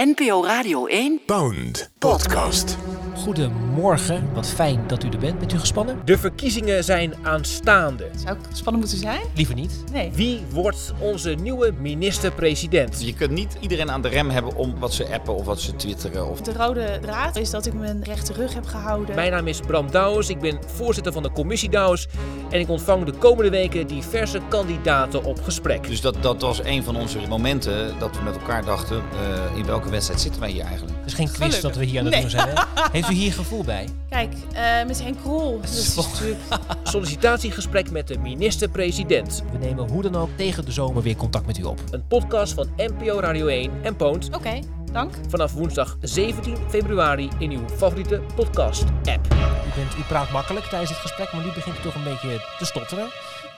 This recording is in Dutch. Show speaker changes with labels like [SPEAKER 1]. [SPEAKER 1] NPO Radio 1
[SPEAKER 2] Pound Podcast.
[SPEAKER 3] Goedemorgen, wat fijn dat u er bent. Bent u gespannen?
[SPEAKER 4] De verkiezingen zijn aanstaande.
[SPEAKER 5] Zou ik gespannen moeten zijn?
[SPEAKER 3] Liever niet.
[SPEAKER 5] Nee.
[SPEAKER 4] Wie wordt onze nieuwe minister-president?
[SPEAKER 6] Je kunt niet iedereen aan de rem hebben om wat ze appen of wat ze twitteren. Of...
[SPEAKER 5] De rode draad is dat ik mijn rechte rug heb gehouden.
[SPEAKER 4] Mijn naam is Bram Douwens, ik ben voorzitter van de commissie Douwens en ik ontvang de komende weken diverse kandidaten op gesprek.
[SPEAKER 6] Dus dat, dat was een van onze momenten dat we met elkaar dachten, eh, in welke wedstrijd zitten wij hier eigenlijk?
[SPEAKER 3] Het is geen quiz
[SPEAKER 5] Gelukkig.
[SPEAKER 3] dat we hier aan het
[SPEAKER 5] Nee.
[SPEAKER 3] doen zijn. hè? Heeft u hier gevoel bij?
[SPEAKER 5] Kijk, eh, met Henk Krol. Dat is
[SPEAKER 3] Zo.
[SPEAKER 5] natuurlijk...
[SPEAKER 4] Sollicitatiegesprek met de minister-president.
[SPEAKER 3] We nemen hoe dan ook tegen de zomer weer contact met u op.
[SPEAKER 4] Een podcast van NPO Radio 1 en Poont
[SPEAKER 5] Oké, dank.
[SPEAKER 4] vanaf woensdag 17 februari in uw favoriete podcast-app.
[SPEAKER 3] U, bent, u praat makkelijk tijdens dit gesprek, maar nu begint u toch een beetje te stotteren.